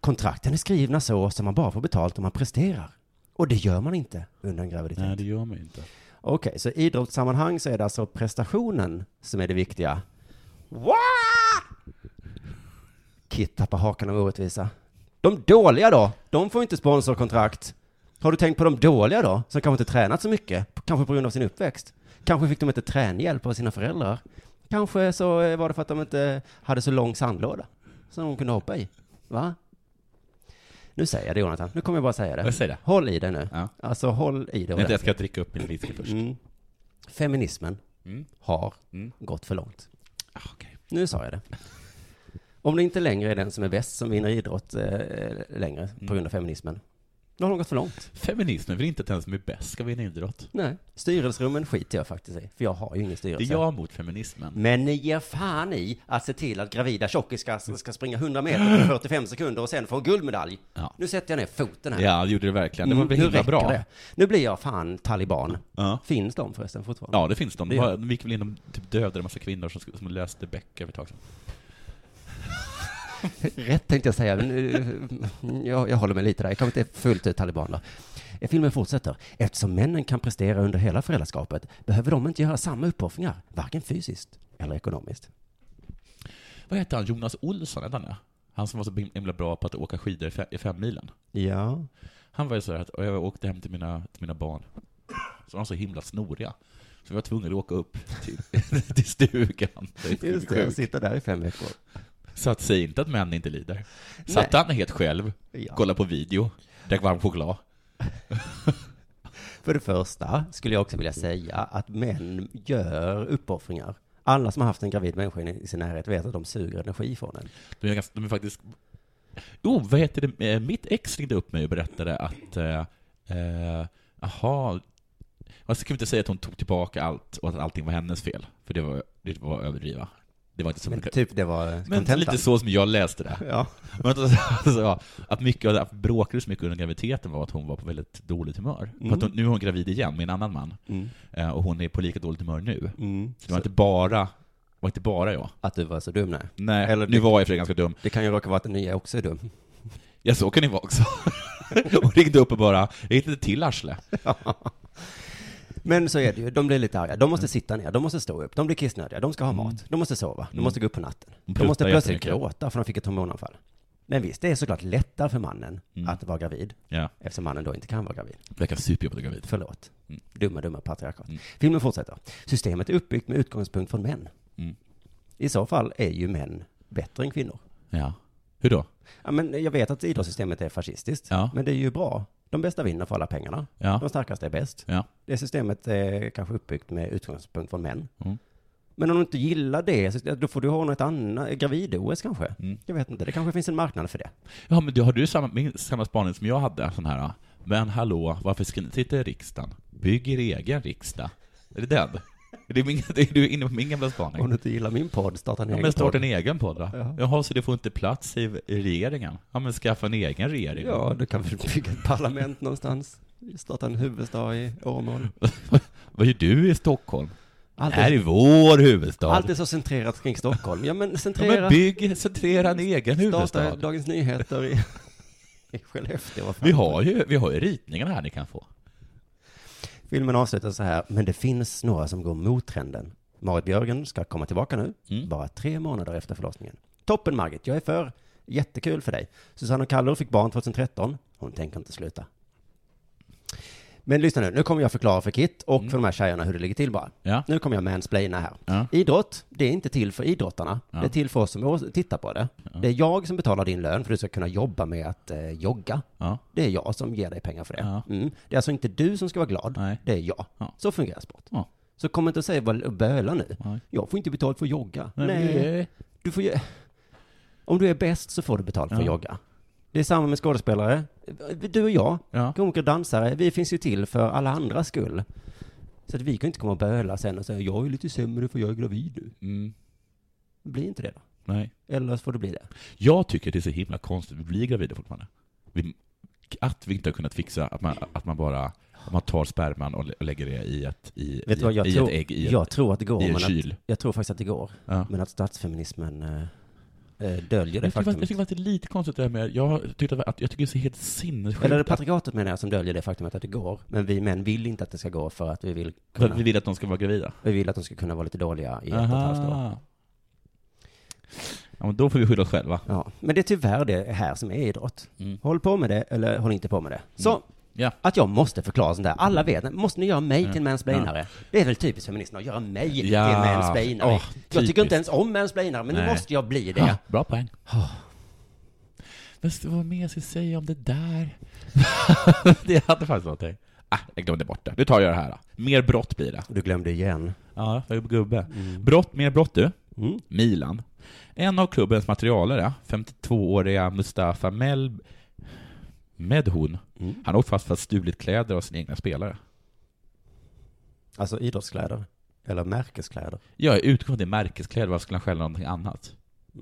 Speaker 6: Kontrakten är skrivna så som man bara får betalt om man presterar. Och det gör man inte under en graviditet.
Speaker 5: Nej, det gör man ju inte.
Speaker 6: Okej, så i idrottssammanhang så är det alltså prestationen som är det viktiga. What? Kit tappar hakan av orättvisa. De dåliga då? De får inte sponsorkontrakt. Har du tänkt på de dåliga då? Som kanske inte tränat så mycket? Kanske på grund av sin uppväxt? Kanske fick de inte tränhjälp av sina föräldrar? Kanske så eh, var det för att de inte hade så lång sandlåda som de kunde hoppa i? Va? Nu säger jag det Jonathan, nu kommer jag bara säga det.
Speaker 5: Jag säger det.
Speaker 6: Håll i det nu. Alltså håll i det
Speaker 5: Vänta, jag ska dricka upp min whisky först.
Speaker 6: Mm. Feminismen
Speaker 5: Mm.
Speaker 6: har
Speaker 5: Mm.
Speaker 6: gått för långt.
Speaker 5: Ah,
Speaker 6: Nu sa jag det. Om det inte längre är den som är bäst som vinner idrott eh, längre
Speaker 5: Mm.
Speaker 6: på grund av feminismen, då har de gått för långt.
Speaker 5: Feminismen vill inte att den som är bäst ska vinna idrott.
Speaker 6: Nej, styrelserummen skiter jag faktiskt i, för jag har ju ingen
Speaker 5: Det är
Speaker 6: styrelse.
Speaker 5: jag mot feminismen.
Speaker 6: Men ni ger fan i att se till att gravida tjockisar ska, ska springa 100 meter på 45 sekunder och sen få en guldmedalj. Nu sätter jag ner foten här.
Speaker 5: Ja, det gjorde det verkligen. Det var
Speaker 6: Mm,
Speaker 5: väl
Speaker 6: nu
Speaker 5: himla
Speaker 6: räcker
Speaker 5: bra.
Speaker 6: det. Nu blir jag fan taliban.
Speaker 5: Ja.
Speaker 6: Finns de förresten fortfarande?
Speaker 5: Ja, det finns de. De,
Speaker 6: Det gör
Speaker 5: har, de gick väl in och typ dödade en massa kvinnor som, sk- som läste Becker för ett tag sedan.
Speaker 6: Rätt tänkte jag säga, men eh, jag, jag håller mig lite där. Jag kommer inte fullt ut talibaner. Eh, Filmen fortsätter. Eftersom männen kan prestera under hela föräldraskapet behöver de inte göra samma uppoffringar, varken fysiskt eller ekonomiskt.
Speaker 5: Vad heter han? Jonas Olsson, hette han det? Han som var så himla bra på att åka skidor i fe- i fem milen.
Speaker 6: Ja.
Speaker 5: Han var ju så här att och jag åkte hem till mina, till mina barn. Så var de så himla snoriga. Så vi var tvungna att åka upp till, till stugan.
Speaker 6: Just det, och sitta där i fem veckor.
Speaker 5: Så att säg inte att män inte lider. Satt
Speaker 6: Nej.
Speaker 5: han helt själv,
Speaker 6: Ja.
Speaker 5: kollade på video, drack varm choklad.
Speaker 6: För det första skulle jag också vilja säga att män gör uppoffringar. Alla som har haft en gravid människa i sin närhet vet att de suger energi från den.
Speaker 5: De är, ganska, de är faktiskt... Jo, vad heter det? Eh, Mitt ex ringde upp mig och berättade att... eh, eh, Jaha... Man ska inte säga att hon tog tillbaka allt och att allting var hennes fel. För det var, det var att överdriva. Det var inte så
Speaker 6: Men
Speaker 5: mycket-
Speaker 6: typ det var
Speaker 5: Men
Speaker 6: kontentan.
Speaker 5: lite så som jag läste det.
Speaker 6: Ja.
Speaker 5: Men att, alltså, att mycket av det, att bråkade så mycket under graviditeten var att hon var på väldigt dåligt humör.
Speaker 6: Mm.
Speaker 5: För att hon, nu är hon gravid igen med en annan man.
Speaker 6: Mm.
Speaker 5: Eh, Och hon är på lika dåligt humör nu.
Speaker 6: Mm.
Speaker 5: Så det var inte bara, var inte bara jag.
Speaker 6: Att du var så dum nej.
Speaker 5: Nej,
Speaker 6: Eller
Speaker 5: nu
Speaker 6: det-
Speaker 5: var jag för sig ganska dum.
Speaker 6: Det kan ju råka vara att den nya också är dum.
Speaker 5: Ja, så kan det vara också. och ringde upp och bara, jag hittade ett till arsle.
Speaker 6: Men så är det ju, de blir lite arga. De
Speaker 5: Mm.
Speaker 6: måste sitta ner, de måste stå upp, de blir kissnödiga, de ska ha mat, de måste sova, de
Speaker 5: Mm.
Speaker 6: måste gå upp på natten.
Speaker 5: De
Speaker 6: De måste
Speaker 5: pruttar
Speaker 6: plötsligt
Speaker 5: jättemycket.
Speaker 6: gråta för de fick ett hormonanfall. Men visst, det är såklart lättare för mannen
Speaker 5: Mm.
Speaker 6: att vara gravid,
Speaker 5: Ja.
Speaker 6: eftersom mannen då inte kan vara gravid.
Speaker 5: Verkar superjobbigt att vara gravid.
Speaker 6: Förlåt.
Speaker 5: Mm.
Speaker 6: Dumma, dumma patriarkat. Filmen fortsätter. Systemet är uppbyggt med utgångspunkt från män.
Speaker 5: Mm.
Speaker 6: I så fall är ju män bättre än kvinnor.
Speaker 5: Ja. Hur då?
Speaker 6: Ja, men jag vet att idrottssystemet är fascistiskt, men det är ju bra. De bästa vinner för alla pengarna.
Speaker 5: Ja.
Speaker 6: De starkaste är bäst.
Speaker 5: Ja.
Speaker 6: Det systemet är kanske uppbyggt med utgångspunkt från män.
Speaker 5: Mm.
Speaker 6: Men om du inte gillar det, så- då får du ha något annat, gravid-OS kanske?
Speaker 5: Mm.
Speaker 6: Jag vet inte, det kanske finns en marknad för det.
Speaker 5: Ja, men du, har du samma, min- samma spaning som jag hade? Sån här, men hallå, varför ska ni sitta i riksdagen? Bygg er egen riksdag. Är det den? Är det min, är du inne på min gamla spaning?
Speaker 6: Om du inte gillar min podd, starta en
Speaker 5: Ja,
Speaker 6: egen
Speaker 5: men starta
Speaker 6: podd.
Speaker 5: en egen podd då.
Speaker 6: Ja.
Speaker 5: Ja. Jaha, så det får inte plats i i regeringen? Ja, men skaffa en egen regering.
Speaker 6: Ja, du kan väl bygga ett parlament någonstans. Starta en huvudstad i Åmål.
Speaker 5: Vad gör du i Stockholm?
Speaker 6: Allt
Speaker 5: det här
Speaker 6: är-
Speaker 5: är vår huvudstad.
Speaker 6: Allt är så centrerat kring Stockholm. Ja, men centrera...
Speaker 5: Ja, men bygg, centrera en egen huvudstad.
Speaker 6: Starta Dagens Nyheter i, i Skellefteå. vad fan.
Speaker 5: Vi har, ju, vi har ju ritningarna här ni kan få.
Speaker 6: Filmen avslutas så här, men det finns några som går mot trenden. Marit Björgen ska komma tillbaka nu, bara tre månader efter förlossningen. Toppen Margit, jag är för. Jättekul för dig. Susanne och Kalle fick barn 2013. Hon tänker inte sluta. Men lyssna nu, nu kommer jag förklara för Kit och för de här tjejerna hur det ligger till bara. Nu kommer jag mansplaina här. Idrott, det är inte till för idrottarna. Det är till för oss som å- tittar på det. Det är jag som betalar din lön för att du ska kunna jobba med att eh, jogga. Det är jag som ger dig pengar för det. Mm. Det är alltså inte du som ska vara glad, det är jag. Så fungerar sport. Så kom inte och säg vad och böla nu. Jag får inte betalt för att jogga.
Speaker 5: Nej,
Speaker 6: Nej.
Speaker 5: men-
Speaker 6: Du får ju... Om du är bäst så får du betalt för att
Speaker 5: Ja.
Speaker 6: jogga. Det är samma med skådespelare. Du och jag, komiker och dansare, vi finns ju till för alla andras skull. Så att vi kan ju inte komma och böla sen och säga jag är lite sämre för jag är gravid nu.
Speaker 5: Mm.
Speaker 6: Bli inte det då.
Speaker 5: Nej.
Speaker 6: Eller så får du bli det.
Speaker 5: Jag tycker det är så himla konstigt att vi blir gravida fortfarande. Vi, att vi inte har kunnat fixa att man, att man bara att man tar sperman och lä- och lägger det i ett, i,
Speaker 6: Vet
Speaker 5: i,
Speaker 6: du vad, jag,
Speaker 5: i
Speaker 6: tror,
Speaker 5: ett ägg i, ett-
Speaker 6: jag tror att det går.
Speaker 5: i en
Speaker 6: men
Speaker 5: kyl.
Speaker 6: att, jag tror faktiskt att det går.
Speaker 5: Ja.
Speaker 6: Men att statsfeminismen eh, eh, döljer det
Speaker 5: jag tycker, fakt- jag
Speaker 6: faktumet.
Speaker 5: tycker faktiskt det är lite konstigt det här med, jag tycker att, jag tycker det är så helt sinnessjukt.
Speaker 6: Eller är det
Speaker 5: att-
Speaker 6: patriarkatet menar jag som döljer det faktumet att det går. Men vi män vill inte att det ska gå för att vi vill
Speaker 5: För
Speaker 6: kunna...
Speaker 5: att vi vill att de ska vara gravida?
Speaker 6: Vi vill att de ska kunna vara lite dåliga i ett och ett
Speaker 5: Aha.
Speaker 6: halvt år.
Speaker 5: Ja, men då får vi skylla oss själva.
Speaker 6: Ja, men det är tyvärr det här som är idrott.
Speaker 5: Mm.
Speaker 6: Håll på med det eller håll inte på med det. Så, att jag måste förklara sånt där. Alla vet, måste ni göra mig till en mansplainare? Det är väl typiskt feministerna att göra mig
Speaker 5: Ja.
Speaker 6: till en mansplainare.
Speaker 5: Åh,
Speaker 6: jag tycker
Speaker 5: typiskt.
Speaker 6: inte ens om mansplainare, men nu
Speaker 5: Nej.
Speaker 6: måste jag bli det.
Speaker 5: Ja, bra poäng. Men s- vad mer ska jag säga om det där? det hade faktiskt någonting. Ah, jag glömde bort det. Nu tar jag det här då. Mer brott blir det.
Speaker 6: Du glömde igen.
Speaker 5: Ja, jag är gubbe. Brott, mer brott du.
Speaker 6: Mm.
Speaker 5: Milan. En av klubbens materialare, 52-åriga Mustafa Mel... Medhun. Han åkte fast för att ha stulit kläder av sina egna spelare.
Speaker 6: Alltså idrottskläder. Eller märkeskläder.
Speaker 5: Jag utgår till märkeskläder, varför skulle han stjäla någonting annat?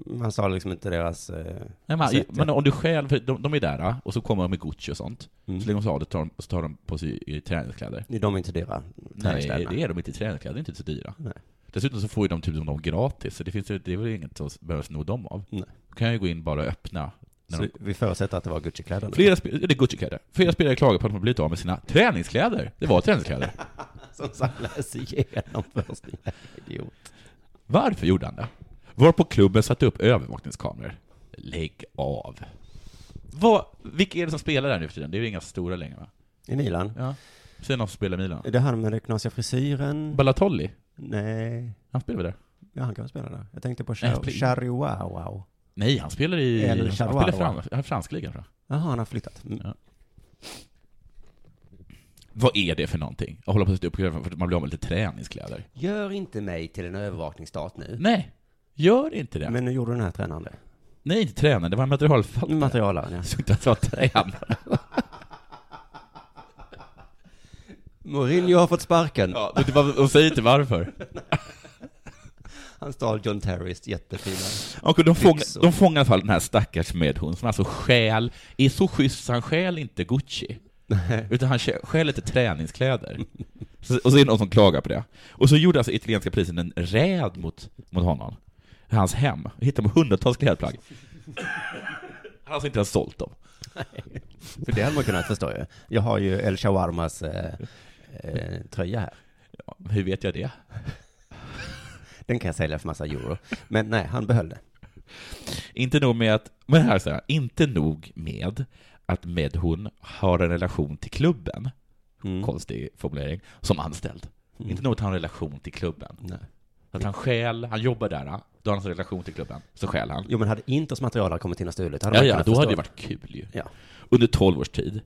Speaker 6: Man sa liksom inte deras... Eh,
Speaker 5: Nej, men,
Speaker 6: sätt,
Speaker 5: men
Speaker 6: ja.
Speaker 5: om du själv, för de, de är där ah, och så kommer de med Gucci och sånt.
Speaker 6: Mm.
Speaker 5: Så lägger de sig av det tar de, så tar de på sig i träningskläder.
Speaker 6: Nej, De är inte dyra.
Speaker 5: Nej,
Speaker 6: träningskläderna.
Speaker 5: det är de inte. Träningskläder är inte så dyra.
Speaker 6: Nej.
Speaker 5: Dessutom så får ju de typ som de gratis, så det, finns, ju- det är väl inget som behöver sno dem av.
Speaker 6: Nej.
Speaker 5: Då kan jag ju gå in bara och öppna. när
Speaker 6: Så
Speaker 5: de,
Speaker 6: vi förutsätter att det var Gucci-kläder nu.
Speaker 5: flera, spe, det är Gucci-kläder. flera spelare klagar på att de har blivit av med sina träningskläder. Det var träningskläder.
Speaker 6: Som sagt, läs igenom först. din Idiot.
Speaker 5: Varför gjorde han det? Varpå klubben satte upp övervakningskameror. Lägg av. Vad, vilka är det som spelar där nu för tiden? Det är ju inga stora längre va?
Speaker 6: I Milan?
Speaker 5: Ja. Säg någon som spelar i Milan.
Speaker 6: Är Det han med den knasiga frisyren?
Speaker 5: Balatolli?
Speaker 6: Nej.
Speaker 5: Han spelar väl där?
Speaker 6: Ja, han kan väl spela där. Jag tänkte på
Speaker 5: Nej, han spelar-
Speaker 6: Chari Wow Wow.
Speaker 5: Nej, han spelar i...
Speaker 6: Eller
Speaker 5: Han spelar
Speaker 6: Charleroi.
Speaker 5: fram, han är fransk ligan tror jag.
Speaker 6: Jaha, han har flyttat. Mm.
Speaker 5: Vad är det för någonting? Att hålla på att sätta upp kläder för att man blir av med lite träningskläder.
Speaker 6: Gör inte mig till en övervakningsstat nu.
Speaker 5: Nej, gör inte det.
Speaker 6: Men nu gjorde den här tränaren det.
Speaker 5: Nej, inte tränaren. Det var en materialförvaltare.
Speaker 6: Materialaren, ja.
Speaker 5: Jag såg inte att det var tränaren.
Speaker 6: Mourinho har fått sparken.
Speaker 5: Ja, vet du vad- och säg inte varför.
Speaker 6: Han stal John Terrorist jättefina.
Speaker 5: Och de, fång,
Speaker 6: byxor.
Speaker 5: de fångar i alla fall den här stackars medhund som alltså stjäl, är så schysst så han stjäl inte Gucci. Utan han stjäl- stjäl lite träningskläder. Så, och så är det någon som klagar på det. Och så gjorde alltså italienska polisen en räd mot, mot honom. Hans hem. Hittade hundratals klädplagg. Han har alltså inte ens sålt dem.
Speaker 6: För det hade man kunnat förstå ju. Jag har ju El Shawarmas eh, eh, tröja här.
Speaker 5: hur vet jag det?
Speaker 6: Den kan jag sälja för massa euro. Men nej, han behöll den.
Speaker 5: Inte nog med att, men här säger jag, inte nog med att Medhun har en relation till klubben, konstig formulering, som anställd.
Speaker 6: Mm.
Speaker 5: Inte nog att han har en relation till klubben.
Speaker 6: Nej.
Speaker 5: Att han stjäl, han jobbar där, då har han alltså en relation till klubben, så stjäl han.
Speaker 6: Jo, men hade Inters material kommit in och stulit, hade
Speaker 5: Ja,
Speaker 6: man
Speaker 5: ja,
Speaker 6: kunnat
Speaker 5: då
Speaker 6: förstå.
Speaker 5: hade det varit kul ju.
Speaker 6: Ja.
Speaker 5: Under 12 års tid.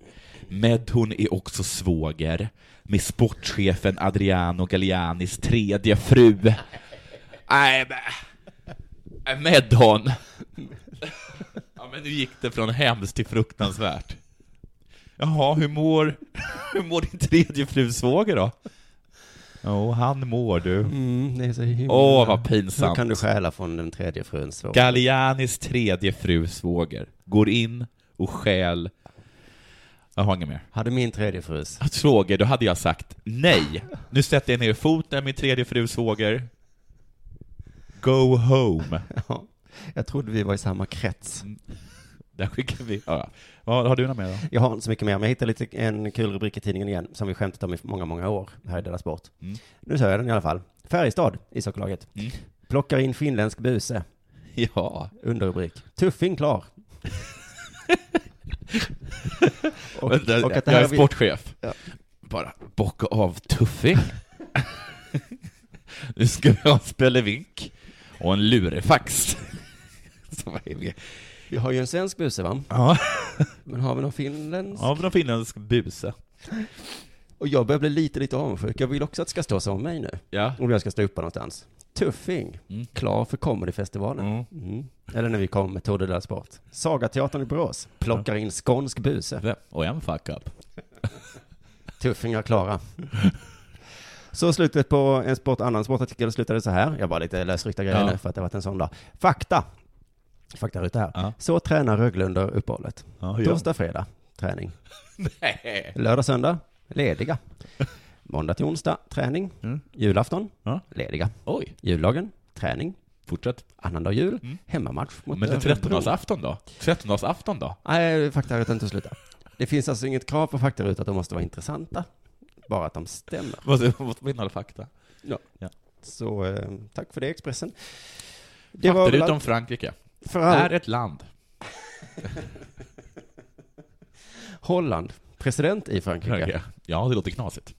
Speaker 5: Medhun är också svåger med sportchefen Adriano Gallianis tredje fru. Nej, men... Medhun! Ja, men nu gick det från hemskt till fruktansvärt. Jaha, hur mår, hur mår din tredje fru svåger då? Jo, han mår du.
Speaker 6: Mm, det är så himla...
Speaker 5: Åh, vad pinsamt.
Speaker 6: Hur kan du stjäla från den tredje fruns svår?
Speaker 5: Gallianis tredje fru svåger går in och stjäl... Jag har inget mer.
Speaker 6: Hade min tredje frus...
Speaker 5: Svåger, då hade jag sagt nej. Nu sätter jag ner foten, min tredje fru svåger. Go home.
Speaker 6: Ja, jag trodde vi var i samma krets.
Speaker 5: Där skickar vi... Ja. Vad har du något mer då?
Speaker 6: Jag har inte så mycket mer, men jag hittade lite, en kul rubrik i tidningen igen, som vi skämtat om i många, många år här i Della Sport.
Speaker 5: Mm.
Speaker 6: Nu säger jag den i alla fall. Färjestad, ishockeylaget.
Speaker 5: Mm.
Speaker 6: Plockar in finländsk buse.
Speaker 5: Ja.
Speaker 6: Underrubrik. Tuffing klar. och,
Speaker 5: Vänta,
Speaker 6: och att det
Speaker 5: jag
Speaker 6: här
Speaker 5: är
Speaker 6: vi-
Speaker 5: sportchef.
Speaker 6: Ja.
Speaker 5: Bara bocka av tuffing. nu ska vi ha en spelevink och en lurefax. Så vad är det?
Speaker 6: Vi har ju en svensk buse va?
Speaker 5: Ja.
Speaker 6: Men har vi någon finländsk?
Speaker 5: Av någon finländsk buse.
Speaker 6: Och jag börjar bli lite, lite avundsjuk. Jag vill också att det ska stå som mig nu.
Speaker 5: Ja.
Speaker 6: Om jag ska stå uppe någonstans. Tuffing.
Speaker 5: Mm.
Speaker 6: Klar för comedyfestivalen.
Speaker 5: Mm.
Speaker 6: Mm. Eller när vi kom med Tour de la Sport. Sagateatern i Borås. Plockar in skånsk buse.
Speaker 5: Vem? Och en fuck up.
Speaker 6: Tuffingar klara. Så slutet på en sport, annan sportartikel slutade så här. Jag var lite lösryckta grejer
Speaker 5: Ja.
Speaker 6: nu för att det har varit en sån dag. Fakta. Faktaruta här.
Speaker 5: Ja.
Speaker 6: Så tränar Rögle under uppehållet.
Speaker 5: Ja, hur gör de?
Speaker 6: Torsdag, fredag, träning.
Speaker 5: Nej.
Speaker 6: Lördag, söndag, lediga. Måndag till onsdag, träning.
Speaker 5: Mm.
Speaker 6: Julafton,
Speaker 5: Ja.
Speaker 6: lediga.
Speaker 5: Oj.
Speaker 6: Juldagen, träning.
Speaker 5: Fortsätt.
Speaker 6: Annandag jul,
Speaker 5: Mm.
Speaker 6: hemmamatch mot
Speaker 5: Men det är
Speaker 6: Örebro.
Speaker 5: trettondagsafton då? Trettondagsafton då?
Speaker 6: Nej, faktarutan inte sluta. Det finns alltså inget krav på faktarutor att de måste vara intressanta. Bara att de stämmer.
Speaker 5: Måste måste vi innehålla fakta.
Speaker 6: Så eh, tack för det Expressen. Det
Speaker 5: Fattar du
Speaker 6: väl
Speaker 5: inte om
Speaker 6: allt
Speaker 5: Frankrike?
Speaker 6: för
Speaker 5: Är
Speaker 6: all...
Speaker 5: ett land.
Speaker 6: Holland, president i Frankrike.
Speaker 5: Frankrike. Ja, det låter knasigt.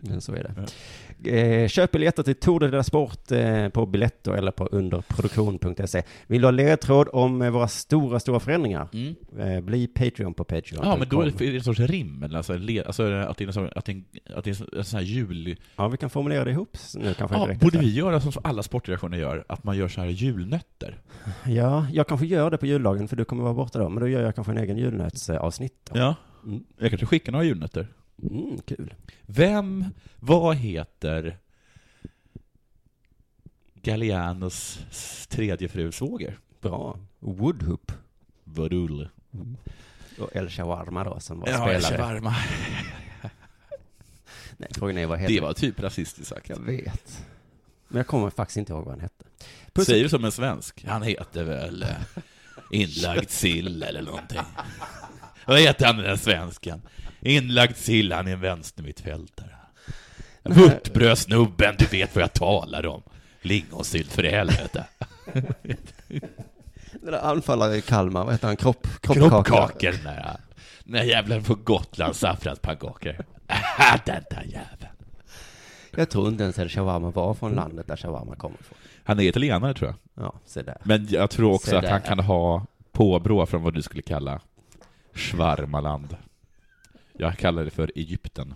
Speaker 6: Men så är det. Eh, köp biljetter till Tour de la Sport eh, på Biletto eller på underproduktion.se. Vill du ha ledtråd om eh, våra stora, stora förändringar?
Speaker 5: Mm.
Speaker 6: Eh, bli Patreon på Patreon.
Speaker 5: Ja, men då är det är det en sorts rim, eller alltså, en le- alltså att det är en sån, att det är en, att det är en sån- en sån här jul...
Speaker 6: Ja, vi kan formulera det ihop så nu kanske.
Speaker 5: Ja,
Speaker 6: det räcker
Speaker 5: borde
Speaker 6: så här.
Speaker 5: vi göra som alla sportredaktioner gör, att man gör så här julnötter?
Speaker 6: Ja, jag kanske gör det på juldagen för du kommer vara borta då. Men då gör jag kanske en egen julnötsavsnitt då.
Speaker 5: Ja.
Speaker 6: Mm.
Speaker 5: Jag kanske skickar några julnötter.
Speaker 6: Mm, kul.
Speaker 5: Vem, vad heter Gallianos tredje fru svåger?
Speaker 6: Bra. Woodhoop
Speaker 5: Vadul.
Speaker 6: och El Shawarma då som var
Speaker 5: Ja, jag
Speaker 6: spelare.
Speaker 5: kör varma.
Speaker 6: Nej, frågan är vad heter
Speaker 5: Det var typ rasistiskt sagt.
Speaker 6: Jag vet. Men jag kommer faktiskt inte ihåg vad han hette. Puss
Speaker 5: Säger du som en svensk? Han heter väl eh, inlagd sill eller någonting. Vad heter han den där svensken? Inlagd sill, han är en vänstermittfältare. Vörtbrödsnubben, du vet vad jag talar om. Lingonsylt för i helvete.
Speaker 6: Den där anfallaren i Kalmar, vad heter han? Kropp, kroppkaka.
Speaker 5: Kroppkakor, den där. Den där jävlar på Gotland, saffranspannkakor. Ah, den där jäveln.
Speaker 6: Jag tror inte ens El Shawarma var från landet där shawarma kommer ifrån.
Speaker 5: Han är italienare tror jag.
Speaker 6: Ja, se där.
Speaker 5: Men jag tror
Speaker 6: Se
Speaker 5: också att han
Speaker 6: där.
Speaker 5: kan ha påbrå från vad du skulle kalla Schwarmaland. Jag kallar det för Egypten.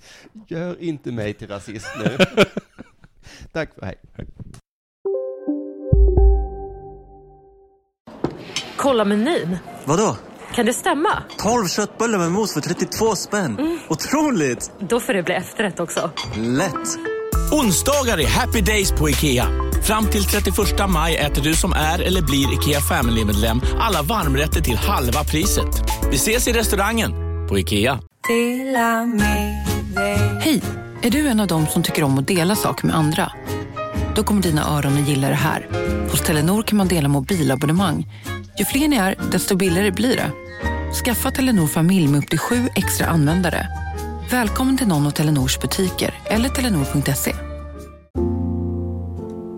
Speaker 6: Gör inte mig till rasist nu. Tack för hej.
Speaker 12: Kolla menyn.
Speaker 4: Vadå?
Speaker 12: Kan det stämma? Mm.
Speaker 4: 12 köttbullar med mos för 32 spänn. Otroligt!
Speaker 12: Då får det bli efterrätt också.
Speaker 4: Lätt!
Speaker 13: Onsdagar är happy days på IKEA. Fram till 31 maj äter du som är eller blir IKEA Family-medlem alla varmrätter till halva priset. Vi ses i restaurangen på IKEA.
Speaker 1: Hej! Är du en av dem som tycker om att dela saker med andra? Då kommer dina öron att gilla det här. Hos Telenor kan man dela mobilabonnemang. Ju fler ni är, desto billigare blir det. Skaffa Telenor familj med upp till sju extra användare. Välkommen till någon av Telenors butiker eller telenor.se.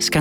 Speaker 14: ska